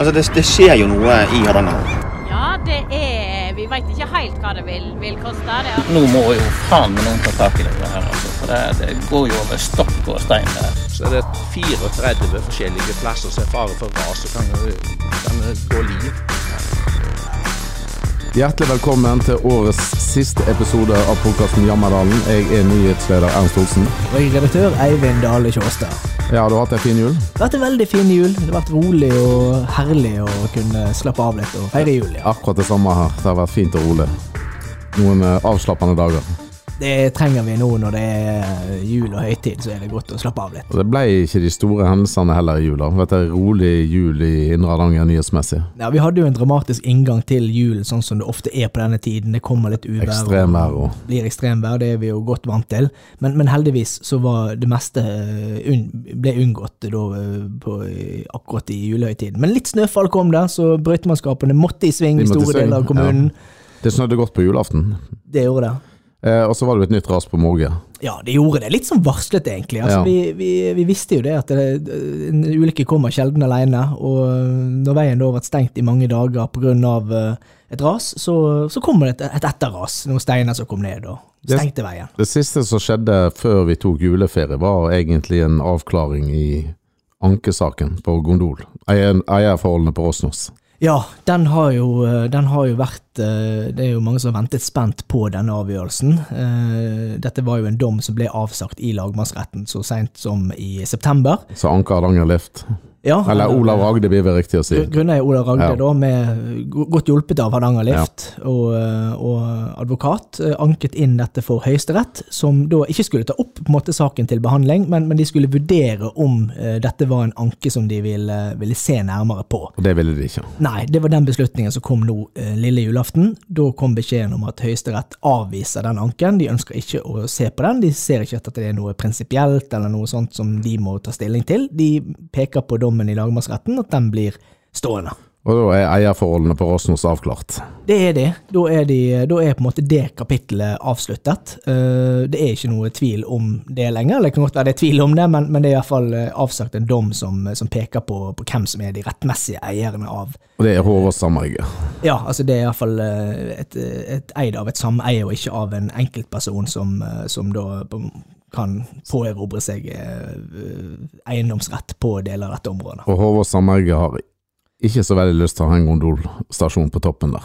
Altså, det, det skjer jo noe i Hardanger. Ja, det er Vi veit ikke helt hva det vil, vil koste. Det er. Nå må jo faen meg noen ta tak i det her, altså. For det, det går jo over stokk og stein der. Så er det 34 forskjellige plasser som er fare for ras, og kan, kan gå liv. Hjertelig velkommen til årets siste episode av podkasten Jammerdalen. Jeg er nyhetsleder Ernst Olsen. Og jeg er redaktør Eivind Dale Kjåstad. Ja, du har hatt en fin jul? Det har vært en veldig fin jul. Det har vært rolig og herlig å kunne slappe av litt og feire jul. ja. Akkurat det samme her. Det har vært fint og rolig. Noen eh, avslappende dager. Det trenger vi nå når det er jul og høytid, så er det godt å slappe av litt. Og det ble ikke de store hendelsene heller i jula. Det har vært en rolig jul i Indre Hardanger nyhetsmessig. Ja, Vi hadde jo en dramatisk inngang til julen, sånn som det ofte er på denne tiden. Det kommer litt uvær. og Ekstremvær og blir ekstremvær, det er vi jo godt vant til. Men, men heldigvis så var det meste eh, unn, ble unngått da, eh, på, eh, akkurat i julehøytiden. Men litt snøfall kom der, så brøytemannskapene måtte i sving De i måtte i store sving, deler av kommunen. Det snødde godt på julaften. Det gjorde det. Eh, og så var det jo et nytt ras på Måge. Ja, det gjorde det. Litt sånn varslet, egentlig. Ja. Altså, vi, vi, vi visste jo det at det, en ulykke kommer sjelden alene, og eh, når veien da har vært stengt i mange dager pga. eh, et ras, så, så kommer det et, et etterras. Noen steiner som kom ned og Det- stengte veien. Det siste som skjedde før vi tok juleferie, var egentlig en avklaring i ankesaken på Gondol. Eier- Eierforholdene på Åsnos. Ja, den har jo, den har jo vært eh, Det er jo mange som har ventet spent på denne avgjørelsen. Eh, Dette var jo en dom som ble avsagt i lagmannsretten så seint som i september. Så anker Hardanger Lift. Ja, eh, Eller Olav Agde blir det riktig å si. Gru- Grunnen er Ola Ragde, Ja. da, med, go- godt hjulpet av Hardanger Lift og, og advokat, eh, anket inn dette for Høyesterett, som da ikke skulle ta opp på en måte, saken til behandling, men, men de skulle vurdere om eh, dette var en anke som de ville, ville se nærmere på. Og det ville de ikke. Nei, det var den beslutningen som kom nå eh, lille julaften. Da kom beskjeden om at Høyesterett avviser den anken. De ønsker ikke å se på den. De ser ikke at det er noe prinsipielt eller noe sånt som de må ta stilling til. De peker på dommen i lagmannsretten, at den blir stående. Og da er eierforholdene på Rosnos avklart. Det er det. Da er, de, da er på en måte det kapittelet avsluttet. Eh, Det er ikke noe tvil om det lenger. eller Det kan godt være det er tvil om det, men, men det er i hvert fall eh, avsagt en dom som, som peker på, på hvem som er de rettmessige eierne av Og det er Håvard Sameige. Ja, altså det er iallfall et, eh, et eid av et sameie, og ikke av en enkeltperson som, eh, som da på- kan påerobre seg eh, eiendomsrett på deler av dette området. Og Håvard Sameige har ikke så veldig lyst til å ha en gondolstasjon på toppen der.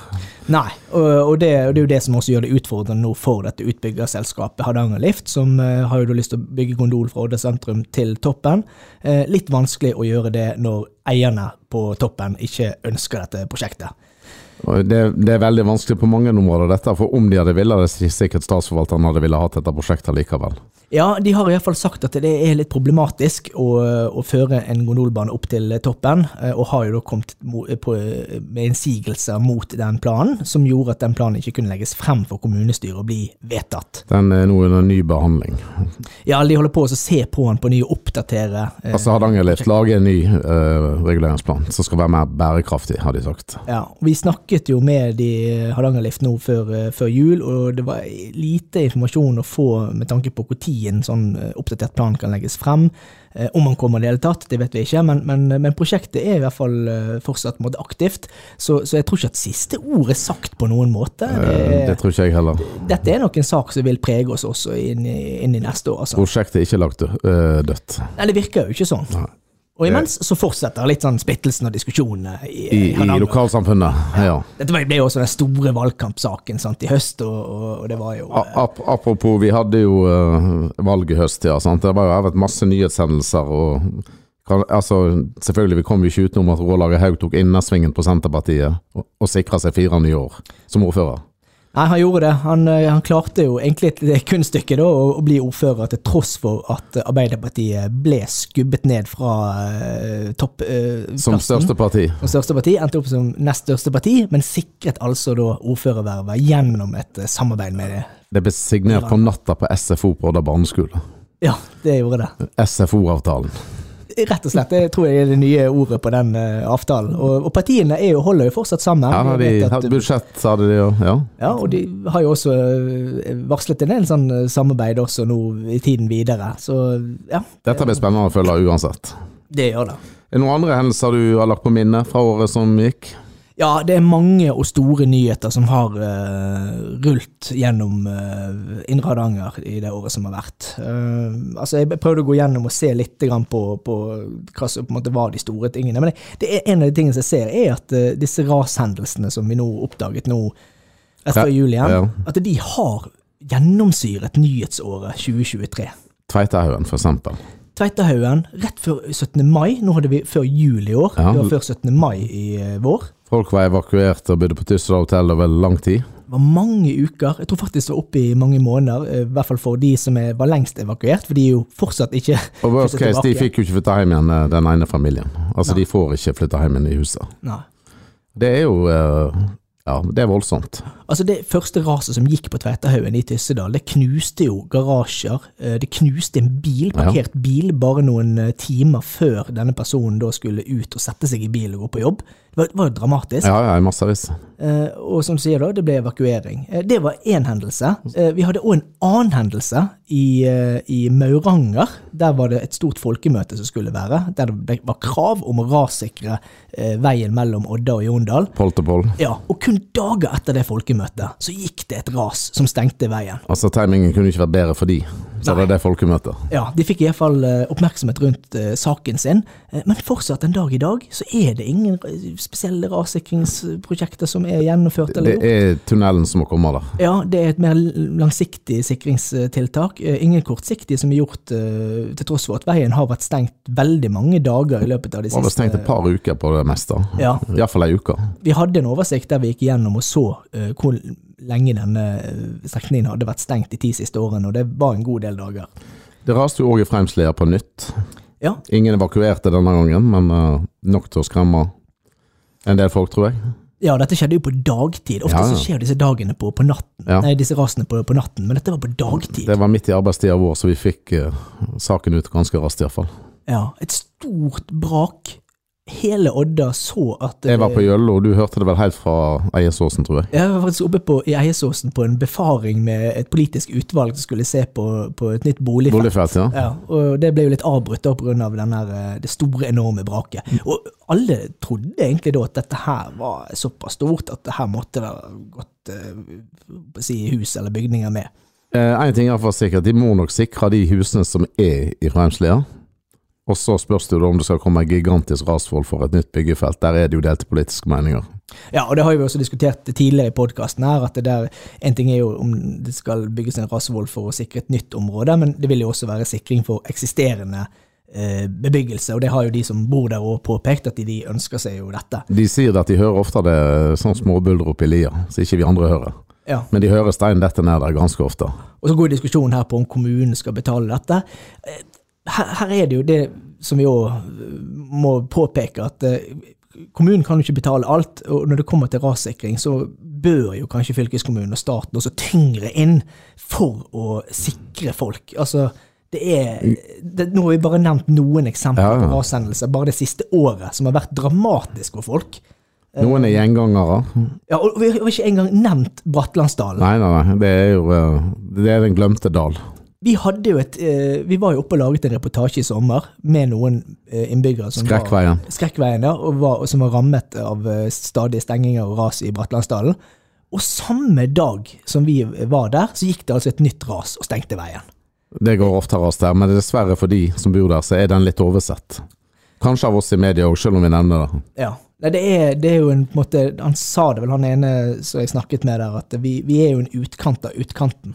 Nei, og, og, det, og det er jo det som også gjør det utfordrende nå for dette utbyggerselskapet Hardanger Lift, som eh, har jo da lyst til å bygge gondol fra Odda sentrum til toppen. Eh, litt vanskelig å gjøre det når eierne på toppen ikke ønsker dette prosjektet. Og det, det er veldig vanskelig på mange områder dette, for om de hadde villet det, så sikkert statsforvalteren hadde villet hatt dette prosjektet likevel. Ja, de har iallfall sagt at det er litt problematisk å, å føre en gondolbane opp til toppen, eh, og har jo da kommet mo- eh, på, med innsigelser mot den planen, som gjorde at den planen ikke kunne legges frem for kommunestyret og bli vedtatt. Den er nå under ny behandling. Ja, de holder på å se på den på ny og oppdatere. eh, Altså Hardangerlift lager en ny eh, reguleringsplan som skal være mer bærekraftig, har de sagt. Ja, og vi snakket jo med de Hardangerlift nå før, eh, før jul, og det var lite informasjon å få med tanke på når en sånn eh, oppdatert plan kan legges frem. Eh, Om han kommer i det hele tatt, det vet vi ikke, men, men, eh, men prosjektet er i hvert fall eh, fortsatt på en måte aktivt. Så, så jeg tror ikke at siste ord er sagt på noen måte. Eh, Det det er, tror ikke jeg heller. dette er nok en sak som vil prege oss også inn i, inn i neste år. Altså. Prosjektet er ikke lagt eh, dødt. Nei, det virker jo ikke sånn. Og imens så fortsetter litt sånn splittelsen og diskusjonene Eh. i, I, i Hardanger. lokalsamfunnet, ja. Dette var- ble jo også den store valgkampsaken sant, i høst, og, og, og det var jo A- Ap apropos, vi hadde jo eh, valg i høst, ja. Sant? Det var jo her vært masse nyhetshendelser og kan, altså, Selvfølgelig, vi kom jo ikke utenom at Rålaget Haug tok innersvingen på Senterpartiet og, og sikra seg fire nye år som ordfører. Nei, han gjorde det. Han, eh, han klarte jo egentlig et lite kunststykke da, å, å bli ordfører til tross for at eh, Arbeiderpartiet ble skubbet ned fra uh, topplassen. Som største parti. som største parti, endte opp som nest største parti, men sikret altså da ordførervervet gjennom et eh, samarbeid med det. Det ble signert på natta på SFO på Odda barneskole. Ja, det gjorde det. SFO-avtalen. Rett og slett. Det tror jeg er det nye ordet på den eh, avtalen. Og, og partiene er jo, holder jo fortsatt sammen. Her har de Vi vet at- her- budsjett, hadde de jo. Ja. Ja, og de har jo også eh, varslet en del sånn eh, samarbeid også nå i tiden videre, så ja, Dette blir spennende å følge uansett. det gjør det. Er det noen andre hendelser du har lagt på minnet fra året som gikk? Ja, det er mange og store nyheter som har eh, rullet gjennom eh, Indre Hardanger i det året som har vært. Eh, altså, jeg prøvde å gå gjennom og se litt grann på, på hva som på en måte var de store tingene. Men det, det er en av de tingene som jeg ser, er at eh, disse rashendelsene som vi nå oppdaget nå rett før Ja, jul igjen, ja. at de har gjennomsyret nyhetsåret 2023. Tveitahaugen, for eksempel. Tveitahaugen rett før 17. mai. Nå hadde vi før jul i år. Ja. Det var før 17. mai i eh, vår. Folk var evakuert og bodde på Tyssedal hotell over lang tid. Det var mange uker, jeg tror faktisk det var oppe i mange måneder, eh, i hvert fall for de som er, var lengst evakuert, for de er jo fortsatt ikke Og worst flyttet case, de tilbake. fikk jo ikke flytta hjem igjen, eh, den ene familien. Altså, de får ikke flytta hjem igjen i huset. Nei. Det er jo eh, Ja, det er voldsomt. Altså Det første raset som gikk på Tveitahaugen i Tyssedal, det knuste jo garasjer. eh, Det knuste en bil, parkert bil, bare noen eh, timer før denne personen da skulle ut og sette seg i bil og gå på jobb. Det var, det var jo dramatisk. Ja, ja, i massevis. Eh, og som du sier da, det ble evakuering. Eh, det var én hendelse. Eh, vi hadde òg en annen hendelse i, eh, i Mauranger. Der var det et stort folkemøte som skulle være. Der det ble- var krav om å rassikre eh, veien mellom Odda og Jondal. Pål til pål. Ja, og kun dager etter det folkemøtet så gikk det et ras som stengte veien. Altså, timingen kunne ikke vært bedre for de. Så det Nei. er det folkemøtet. Ja, De fikk iallfall oppmerksomhet rundt eh, saken sin, eh, men fortsatt en dag i dag så er det ingen eh, spesielle rassikringsprosjekter som er gjennomført. eller Det gjort. er tunnelen som må komme der. Ja, det er et mer langsiktig sikringstiltak. Eh, Ingen kortsiktige som er gjort eh, til tross for at veien har vært stengt veldig mange dager i løpet av de Det var vel siste stengt et par uker på det meste. Ja. Iallfall ei uke. Vi hadde en oversikt der vi gikk gjennom og så eh, hvor lenge denne eh, strekningen hadde vært stengt de ti siste årene, og det var en god del dager. Det raste jo òg i Fremslia på nytt. Ja, Ingen evakuerte denne gangen, men eh, nok til å skremme en del folk, tror jeg. ja dette skjedde jo på dagtid. Ofte Ja, ja. så skjer disse dagene på, på natten. Ja. Nei, disse rasene på, på natten, men dette var på dagtid. Det var midt i arbeidstida vår, så vi fikk eh, saken ut ganske raskt, iallfall. Ja, Et stort brak. Hele Odda så at eh, Jeg var på Jøllo, og du hørte det vel helt fra Eiersåsen, tror jeg. Jeg var faktisk oppe på, i Eiesåsen på en befaring med et politisk utvalg som skulle se på, på et nytt boligfelt. Boligfelt, ja. Ja, og det ble jo litt avbrutt da pga. Av den her, eh, det store, enorme braket. Og alle trodde egentlig da at dette her var såpass stort at det her måtte det ha gått eh, si, hus eller bygninger med. Én Eh, ting er iallfall sikkert, de må nok sikre de husene som er i Fremslia. Og så spørs det jo da om det skal komme en gigantisk rasvoll for et nytt byggefelt. Der er det jo delte politiske meninger. Ja, og det har jo vi også diskutert tidligere i podkasten her, at det der En ting er jo om det skal bygges en rasevoll for å sikre et nytt område, men det vil jo også være sikring for eksisterende eh, bebyggelse, og det har jo de som bor der òg påpekt, at de, de ønsker seg jo dette. De sier at de hører ofte det sånn småbulder oppi lia, så ikke vi andre hører. Ja. Men de hører stein dette ned der ganske ofte. Og så går diskusjonen her på om kommunen skal betale dette. Eh, Her, her er det jo det som vi òg må påpeke, at eh, kommunen kan jo ikke betale alt. Og når det kommer til rassikring, så bør jo kanskje fylkeskommunen og staten også tyngre inn for å sikre folk. Altså, det er, det, nå har vi bare nevnt noen eksempler Ja, ja. på rashendelser bare det siste året, som har vært dramatisk for folk. Noen er gjengangere. Ja, og vi har ikke engang nevnt Bratlandsdalen. Nei, nei, nei. Det er jo eh, det er den glemte dal. Vi hadde jo et eh, Vi var jo oppe og laget en reportasje i sommer med noen eh, innbyggere som var Skrekkveien. Skrekkveien, ja, og, var, og som var rammet av eh, stadige stenginger og ras i Bratlandsdalen. Og samme dag som vi var der, så gikk det altså et nytt ras og stengte veien. Det går ofte raskt her, men dessverre for de som bor der, så er den litt oversett. Kanskje av oss i media òg, selv om vi nevner det. Ja. Nei, det er, det er jo en på en måte Han sa det vel, han ene som jeg snakket med der, at vi, vi er jo en utkant av utkanten.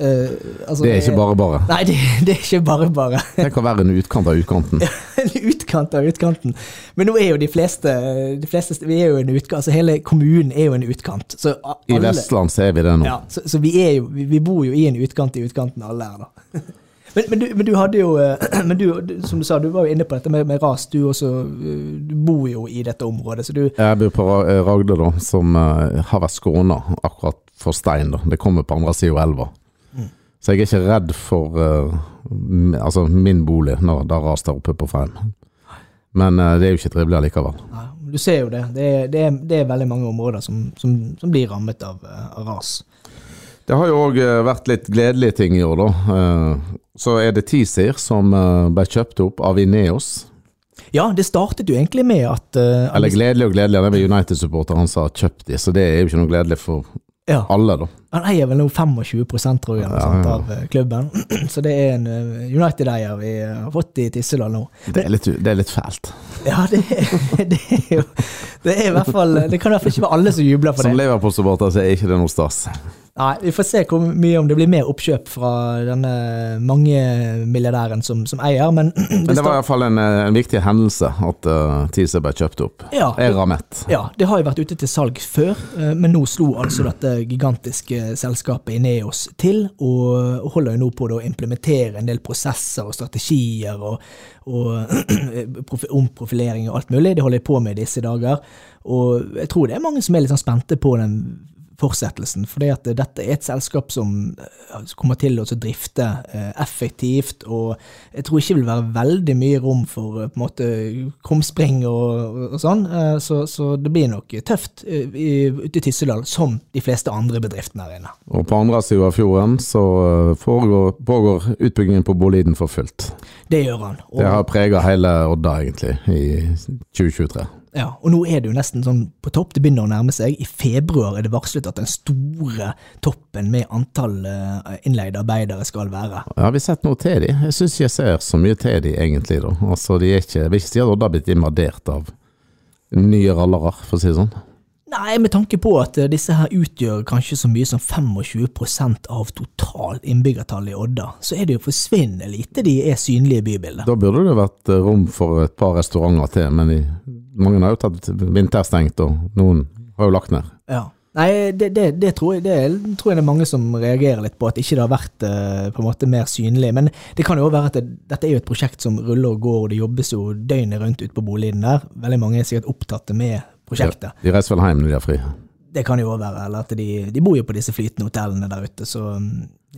Eh, altså, Det er ikke bare bare. Nei, det, det er ikke bare bare. Tenk å være en utkant av utkanten. en utkant av utkanten. Men nå er jo de fleste, de fleste Vi er jo en utkant, altså hele kommunen er jo en utkant. Så a- I alle, Vestland så er vi det nå. Ja, så, så vi, er jo, vi, vi bor jo i en utkant i utkanten, alle her, da. Men, men, du, men du hadde jo eh, men du, du- Som du sa, du var jo inne på dette med, med ras. Du, også, eh, du bor jo i dette området, så du Jeg bor på Ra- eh, Ragde, da, som eh, har vært skåna akkurat for stein. da. Det kommer på andre sida av elva. Mm. Så jeg er ikke redd for eh, m- altså min bolig når det ras der oppe på Freim. Men eh, det er jo ikke trivelig allikevel. Nei, Du ser jo det. Det er, det er, det er veldig mange områder som, som, som blir rammet av, eh, av ras. Det har jo òg vært litt gledelige ting i år, da. Eh, Så er det Teasir som eh, ble kjøpt opp av Ineos. Ja, det startet jo egentlig med at eh, Eller gledelig og gledelig, han er vel United-supporter, han som har kjøpt de, så det er jo ikke noe gledelig for ja, alle, da. Han eier vel nå 25 tror jeg, eller noe sånt, av eh, klubben. Så det er en eh, United-eier vi eh, har fått i Tisseland nå. Det er litt, det er litt fælt. Ja, det, det er jo Det er i hvert fall Det kan i hvert fall ikke være alle som jubler for Som det. Liverpool-supporter så er ikke det noe stas. Nei, Vi får se hvor mye om det blir mer oppkjøp fra denne mangemilliardæren som, som eier, men Men det var iallfall en, eh, en viktig hendelse at uh, Teaser ble kjøpt opp. Ja. Er rammet. Ja, det har jo vært ute til salg før, eh, men nå slo altså dette gigantiske selskapet Ineos til, og og holder jo nå på da å implementere en del prosesser og strategier og, og profi- omprofilering og alt mulig. Det holder jeg på med i disse dager, og jeg tror det er mange som er litt sånn spente på den fortsettelsen, fordi at dette er et selskap som eh, kommer til å drifte eh, effektivt, og jeg tror ikke det vil være veldig mye rom for eh, på en måte krumspring og, og sånn, eh, så, så det blir nok tøft eh, i- ute i Tyssedal, som de fleste andre bedriftene her inne. Og på andre siden av fjorden så eh, foregår, pågår utbyggingen på Boliden for fullt. Det gjør han. Og, Det har prega hele Odda, egentlig, i 2023. ja, og nå er det jo nesten sånn på topp, det begynner å nærme seg. I februar er det varslet at den store toppen med antall eh, innleide arbeidere skal være. Ja, har vi sett noe til de? Jeg syns ikke jeg ser så mye til de, egentlig. da. Altså, de er ikke, Jeg vil ikke si at Odda har blitt invadert av nye rallere, for å si det sånn. Nei, med tanke på at eh, disse her utgjør kanskje så mye som 25 av total innbyggertall i Odda, så er det jo forsvinnende lite de er synlige i bybildet. Da burde det vært eh, rom for et par restauranter til, men de, mange har jo tatt vinterstengt, og noen har jo lagt ned. Ja. Nei, det, det, det, tror jeg, det er- tror jeg det er mange som reagerer litt på, at ikke det har vært eh, på en måte mer synlig. Men det kan jo også være at det, dette er jo et prosjekt som ruller og går, og det jobbes jo døgnet rundt ute på boligen der. Veldig mange er sikkert opptatt med prosjektet. De reiser vel hjem når de har fri. Det kan jo også være, eller at de, de bor jo på disse flytende hotellene der ute, så mm,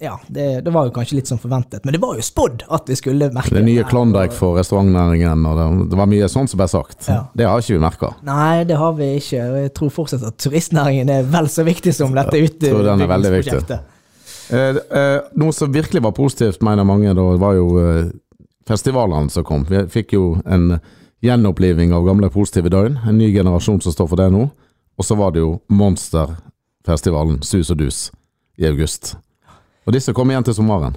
ja, det, det var jo kanskje litt som forventet. Men det var jo spådd at vi skulle merke Det er nye her, Klondyke og- for restaurantnæringen, og det, det var mye sånt som ble sagt. Ja. Det har ikke vi merka. Nei, det har vi ikke. og Jeg tror fortsatt at turistnæringen er vel så viktig som dette ute. tror den er veldig viktig. Eh, eh, noe som virkelig var positivt, mener mange, da, var jo eh, festivalene som kom. Vi fikk jo en gjenoppliving av gamle positive døgn. En ny generasjon som står for det nå. Og så var det jo Monsterfestivalen Sus og Dus i august. Og disse kom igjen til sommeren.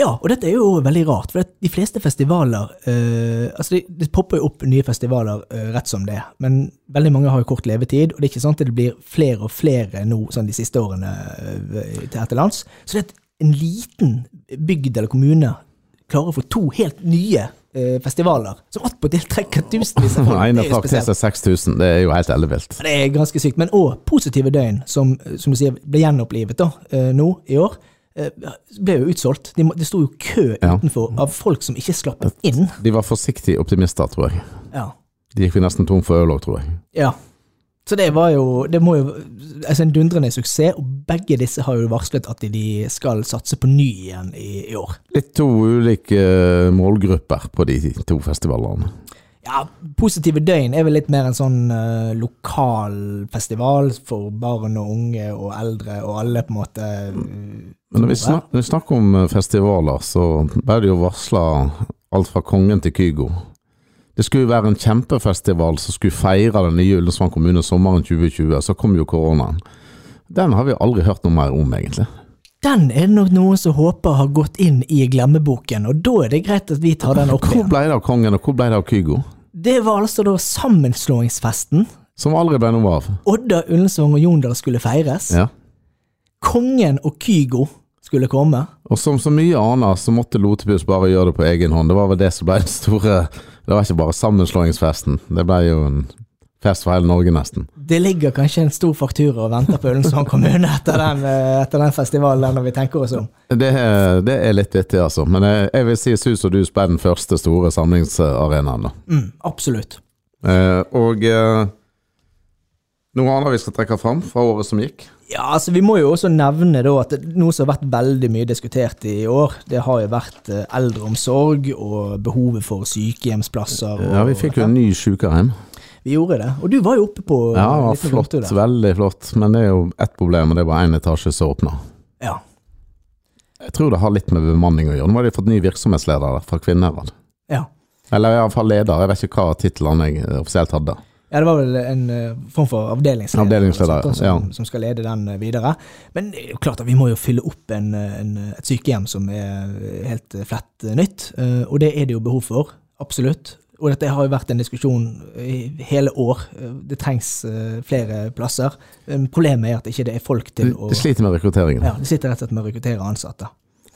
Ja, og dette er jo veldig rart, for det- de fleste festivaler eh, Altså, det, det popper jo opp nye festivaler eh, rett som det, men veldig mange har jo kort levetid, og det er ikke sant at det blir flere og flere nå sånn de siste årene eh, til her til lands. Så det at en liten bygd eller kommune klarer å få to helt nye eh, festivaler, som attpåtil trekker tusenvis av folk, Den det ene er jo trakk til spesielt. seg 6000. Det er jo helt ellevilt. Det er ganske sykt. Men òg Positive døgn, som, som du sier ble gjenopplivet da, eh, nå i år, eh, ble jo utsolgt. De må- Det sto jo kø Ja. utenfor av folk som ikke slapp inn. De var forsiktige optimister, tror jeg. Ja. De gikk vi nesten tom for øl òg, tror jeg. ja. Så det var jo Det må jo altså En dundrende suksess, og begge disse har jo varslet at de skal satse på ny igjen i, i år. Litt to ulike eh, målgrupper på de to festivalene. Ja, Positive døgn er vel litt mer en sånn eh, lokal festival for barn og unge og eldre og alle, på en måte. Men når vi, snak, når vi snakker om eh, festivaler, så ble det jo varsla alt fra Kongen til Kygo. Det skulle jo være en kjempefestival som skulle feire den nye Ullensvang kommune sommeren 2020. Så kom jo koronaen. Den har vi aldri hørt noe mer om, egentlig. Den er det nok noen som håper har gått inn i glemmeboken, og da er det greit at vi tar den opp Hvor igjen. ble det av Kongen, og hvor ble det av Kygo? Det var altså da sammenslåingsfesten. Som aldri ble noe av. Odda, Ullensvang og Jondal skulle feires. Ja. Kongen og Kygo skulle komme. Og som så mye annet, så måtte Lotepus bare gjøre det på egen hånd. Det var vel det som ble den store Det var ikke bare sammenslåingsfesten. Det ble jo en fest for hele Norge, nesten. Det ligger kanskje en stor faktura og venter på Ullensvang kommune etter den, eh, etter den festivalen, når vi tenker oss om. Det er, det er litt vittig, altså. Men jeg, jeg vil si Sus og Dus ble den første store samlingsarenaen. da. Mm, absolutt. Eh, og eh, noe annet vi skal trekke fram fra året som gikk. Ja, altså Vi må jo også nevne da at det- noe som har vært veldig mye diskutert i år, det har jo vært eh, eldreomsorg og behovet for sykehjemsplasser. Og, Ja, Vi fikk jo en ny sykehjem. Vi gjorde det. Og du var jo oppe på eh, Ja, det var liten flott, rundtur der. Veldig flott. Men det er jo ett problem, og det er bare én etasje som åpner. Ja. Jeg tror det har litt med bemanning å gjøre. Nå har de fått ny virksomhetsleder der, fra Kvinnherad. ja. Eller iallfall leder. Jeg vet ikke hva titlene jeg eh, offisielt hadde. Ja, det var vel en eh, form for avdelingsleder, Avdelingsleder, eller noe sånt, ja. som, som skal lede den eh, videre. Men det er jo klart at vi må jo fylle opp en, eh, en, eh, et sykehjem som er eh, helt eh, flett eh, nytt, eh, og det er det jo behov for, absolutt. Og dette har jo vært en diskusjon eh, i hele år. Eh, Det trengs eh, flere plasser. Men Problemet er at ikke det er folk De, til å de sliter med rekrutteringen. ja, De sitter rett og slett med å rekruttere ansatte.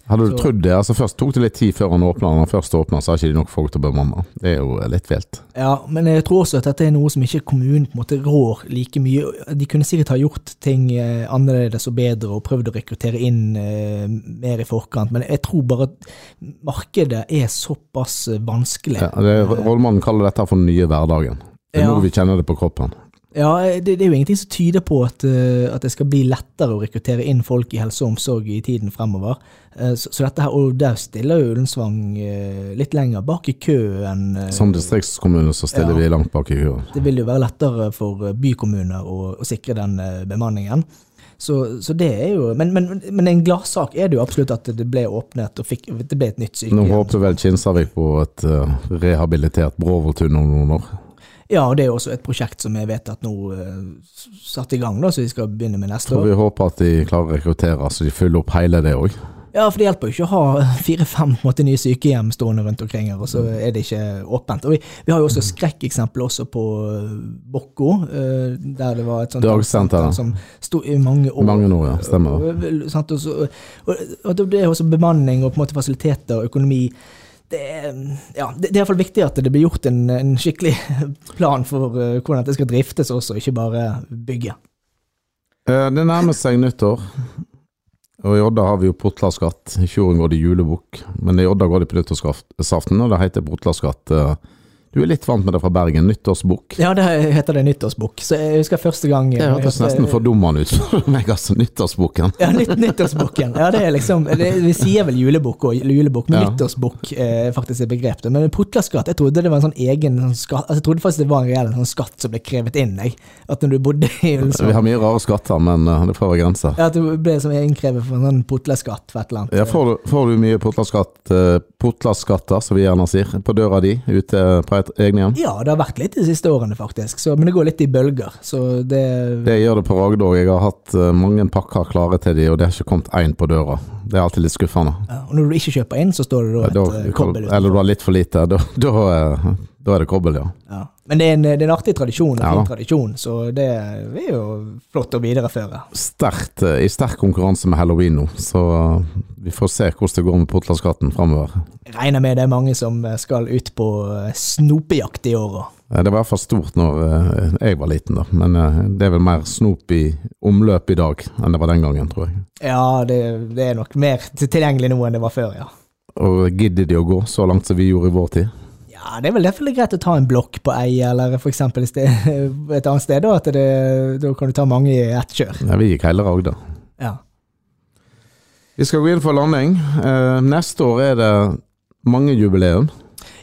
Hadde du Så- trodd det? altså Først tok det litt tid før han åpna. Når han først åpna, så har ikke de nok folk til å bemanne. Det er jo eh, litt vilt. Ja, men jeg tror også at dette er noe som ikke kommunen på en måte rår like mye. De kunne sikkert ha gjort ting eh, annerledes og bedre og prøvd å rekruttere inn eh, mer i forkant, men jeg tror bare at markedet er såpass eh, vanskelig. Ja, det, Rollmannen kaller dette for den nye hverdagen. Det er Ja. nå vi kjenner det på kroppen. Ja, eh, det, det er jo ingenting som tyder på at, eh, at det skal bli lettere å rekruttere inn folk i helse og omsorg i tiden fremover. Eh, Så, så dette her, og der stiller jo Ullensvang eh, litt lenger bak i køen. eh, Som distriktskommune så stiller Ja. vi langt bak i køen. Det vil jo være lettere for bykommuner å, å sikre den eh, bemanningen. Så, så det er jo Men, men, men en gladsak er det jo absolutt at det ble åpnet og fikk, det ble et nytt Nå sykehjem. håper vel Kinsarvik på et eh, rehabilitert Bråvolltun om noen år. Ja, og det er jo også et prosjekt som jeg vet at nå eh, s- satt i gang, da, så vi skal begynne med neste Tror år. vi håper at de klarer å rekruttere så de fyller opp hele det òg. Ja, for det hjelper jo ikke å ha fire-fem på en måte, nye sykehjem stående rundt omkring her, og så Mm. er det ikke åpent. Og vi, vi har jo også skrekkeksempel også på eh, Bokko, eh, der det var et sånt Dagsenter, da. som sto i mange år. Mange år, ja. Stemmer. det. Og- Sant? Og, så, og, og det er også bemanning og på en måte fasiliteter og økonomi. Det er, ja, det, det er i hvert fall viktig at det blir gjort en, en skikkelig plan for eh, hvordan dette skal driftes også, ikke bare bygge. Eh, Det nærmer seg nyttår. Og I Odda har vi jo potlaskatt. I fjor går det julebukk. Men i Odda går det på nyttårsaften, og det heter potlaskatt. eh, Du er litt vant med det fra Bergen. Nyttårsbukk. Ja, det heter det nyttårsbukk. Så jeg husker første gang eh, Det hørtes nesten fordummende ut for meg, altså. Nyttårsbukken. Ja, nytt, nyttårsbukken. Ja, det er liksom, det, vi sier vel julebukk og julebukk, men Ja. nyttårsbukk er faktisk et begrep. det. Men potlaskatt, jeg trodde det var en sånn egen sånn skatt, altså, jeg trodde faktisk det var en reell sånn skatt som ble krevet inn. Jeg. At når du bodde i Vi Ullensvang har mye rare skatter, men eh, det får være grenser. Ja, At du ble som innkrevet for en sånn potleskatt for et eller annet. Ja, får, du- får du mye potlaskatt, eh, potlaskatter, som vi gjerne sier, på døra di ute på et egne hjem? Ja, det har vært litt de siste årene, faktisk. Så, men det går litt i bølger. Så det, Det gjør det på Ragde òg. Jeg har hatt eh, mange pakker klare til de, og det har ikke kommet én på døra. Det er alltid litt skuffende. ja, Og når du ikke kjøper inn, så står det da Ja, et da, eh, kobbel eller du utenfor. har litt for lite. Da, da, eh, da er det kobbel, ja. Ja. Men det er, en, eh, det er en artig tradisjon, en Ja, fin da. tradisjon, så det er jo flott å videreføre. Sterkt, eh, I sterk konkurranse med halloween nå, så eh, vi får se hvordan det går med potlaskatten framover. Jeg Regner med det er mange som skal ut på eh, snopejakt i år òg. Eh, Det var i hvert fall stort når eh, jeg var liten, da. Men eh, det er vel mer snop i omløp i dag enn det var den gangen, tror jeg. Ja, det, det er nok mer til- tilgjengelig nå enn det var før, ja. Og gidder de å gå så langt som vi gjorde i vår tid? Ja, Det er vel derfor det er greit å ta en blokk på ei, eller for eksempel et sted- et annet sted. Da, at det, da kan du ta mange i ett kjør. Nei, vi gikk hele Ragda. Ja. Vi skal gå inn for landing. Eh, neste år er det mange jubileum.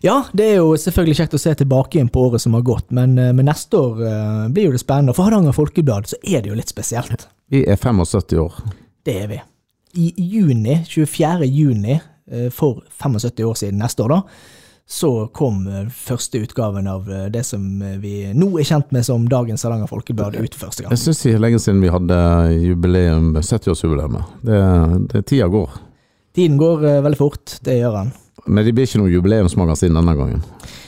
ja, det er jo selvfølgelig kjekt å se tilbake igjen på året som har gått, men, eh, men neste år eh, blir jo det spennende. For Hardanger Folkeblad så er det jo litt spesielt. Vi er 75 år. Det er vi. I juni, 24. juni, eh, for 75 år siden neste år, da, så kom eh, første utgaven av eh, det som eh, vi nå er kjent med som dagens Hardanger Folkeblad ut første gang. Jeg syns det er lenge siden vi hadde jubileum, 70-årsjubileumet. Det, det Tida går. Tiden går eh, veldig fort, det gjør den. Men det blir ikke noe jubileumsmagasin denne gangen.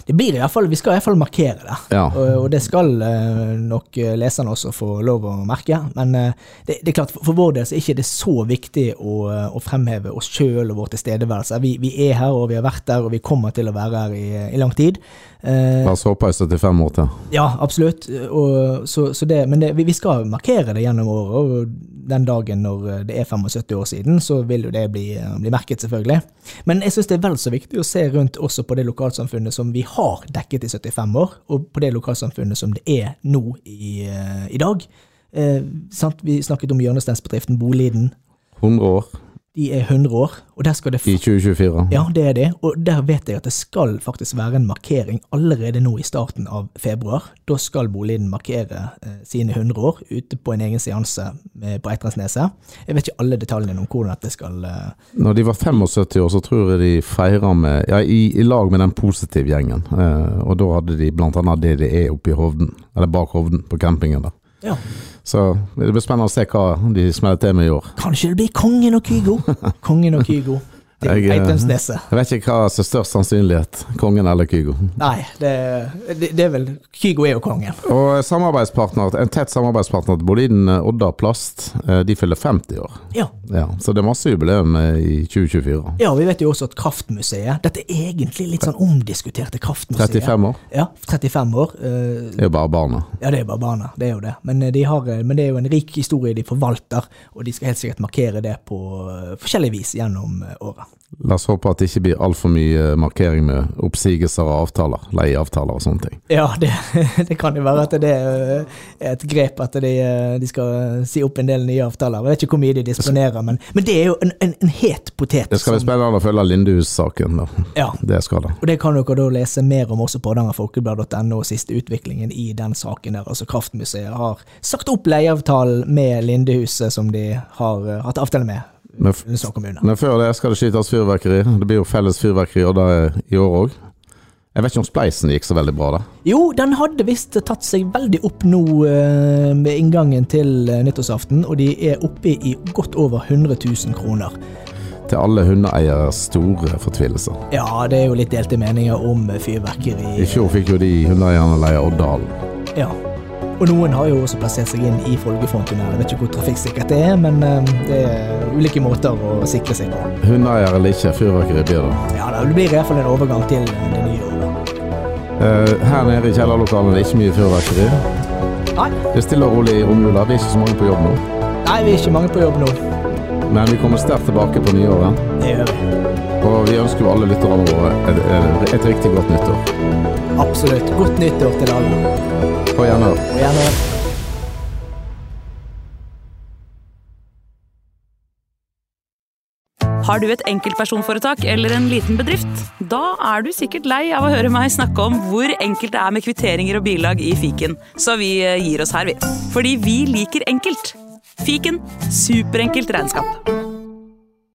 Det blir i hvert fall, Vi skal i hvert fall markere det. Ja. Og, og det skal eh, nok eh, leserne også få lov å merke. Men eh, det, det er klart, for, for vår del så er ikke det så viktig å, eh, å fremheve oss sjøl og vår tilstedeværelse. Vi, vi er her, og vi har vært der, og vi kommer til å være her i, i lang tid. Eh, La oss håpe i 75 år til. Ja, absolutt. Og, så, så det, men det, vi, vi skal markere det gjennom året. Og den dagen når eh, det er 75 år siden, så vil jo det bli, eh, bli merket, selvfølgelig. Men jeg syns det er vel så viktig å se rundt også på det lokalsamfunnet som vi har dekket i 75 år, og på det lokalsamfunnet som det er nå i, eh, i dag. Eh, sant? Vi snakket om hjørnesteinsbedriften Boliden. 100 år. de er 100 år, og der skal det I 2024. Ja, det er det. Og der vet jeg at det skal faktisk være en markering allerede nå i starten av februar. Da skal Boliden markere eh, sine 100 år ute på en egen seanse med, på Eitrandsneset. Jeg vet ikke alle detaljene om hvordan dette skal eh, Når de var 75 år, så tror jeg de feira med Ja, i, i lag med den positive gjengen. Eh, og da hadde de blant annet DDE oppe i Hovden, eller bak Hovden, på campingen der. Ja, Så det blir spennende å se hva de smeller til med i år. kanskje det blir Kongen og Kygo. Kongen og Kygo til Jeg, eh, Eitrandsneset. Jeg vet ikke hva som er størst sannsynlighet, kongen eller Kygo. Nei, det, det, det er vel Kygo er jo kongen. Og samarbeidspartner, en tett samarbeidspartner til Boliden, eh, Odda Plast, eh, de fyller 50 år. Ja. Ja, så det er masse jubileum eh, i 2024. ja, vi vet jo også at Kraftmuseet Dette er egentlig litt sånn omdiskuterte Kraftmuseet. 35 år. Ja, 35 år. eh, Det er jo bare barna. Ja, det er bare barna, det er jo det. Men, eh, de har, eh, men det er jo en rik historie de forvalter, og de skal helt sikkert markere det på eh, forskjellig vis gjennom eh, året. La oss håpe at det ikke blir altfor mye eh, markering med oppsigelser av avtaler, leieavtaler og sånne ting. Ja, det, det kan jo være at det eh, er et grep at de, eh, de skal si opp en del nye avtaler. Jeg vet ikke hvor mye de disponerer, men, men det er jo en, en, en het potet. Det skal bli som- spennende å følge Lindehus-saken, da. Ja, Det skal det. og det kan dere da lese mer om også på hardangerfolkeblad.no, og siste utviklingen i den saken der. Altså Kraftmuseet har sagt opp leieavtalen med Lindehuset, som de har eh, hatt avtale med. Men, f- Ullensvang kommune. men før det skal det skytes fyrverkeri. Det blir jo felles fyrverkeri og det er i år òg. Jeg vet ikke om Spleisen gikk så veldig bra, da. Jo, den hadde visst tatt seg veldig opp nå eh, med inngangen til eh, nyttårsaften, og de er oppe i godt over 100 000 kroner. Til alle hundeeieres store fortvilelse. Ja, det er jo litt delte meninger om eh, fyrverkeri. I fjor fikk jo de hundeeierne leie Oddalen. Ja. Og noen har jo også plassert seg inn i Folgefonntunnelen. Jeg vet ikke hvor trafikksikkert det er, men eh, det er ulike måter å sikre seg på. Hundeeier eller ikke, fyrverkeri blir det. Ja, da, Det blir i hvert fall en overgang til eh, det nye året. Eh, her nede i kjellerlokalene er det ikke mye fyrverkeri. Nei, Det er stille og rolig i romjula. Vi er ikke så mange på jobb nå. nei, vi er ikke mange på jobb nå. Men vi kommer sterkt tilbake på nyåret. Det gjør vi. Og vi ønsker jo alle lytterne våre et, et, et riktig godt nyttår. Absolutt. Godt nyttår til alle. På gjenhør. Og gjerne Har du et enkeltpersonforetak eller en liten bedrift? Da er du sikkert lei av å høre meg snakke om hvor enkelt det er med kvitteringer og bilag i fiken, så vi eh, gir oss her, vi. Fordi vi liker enkelt. Fiken superenkelt regnskap.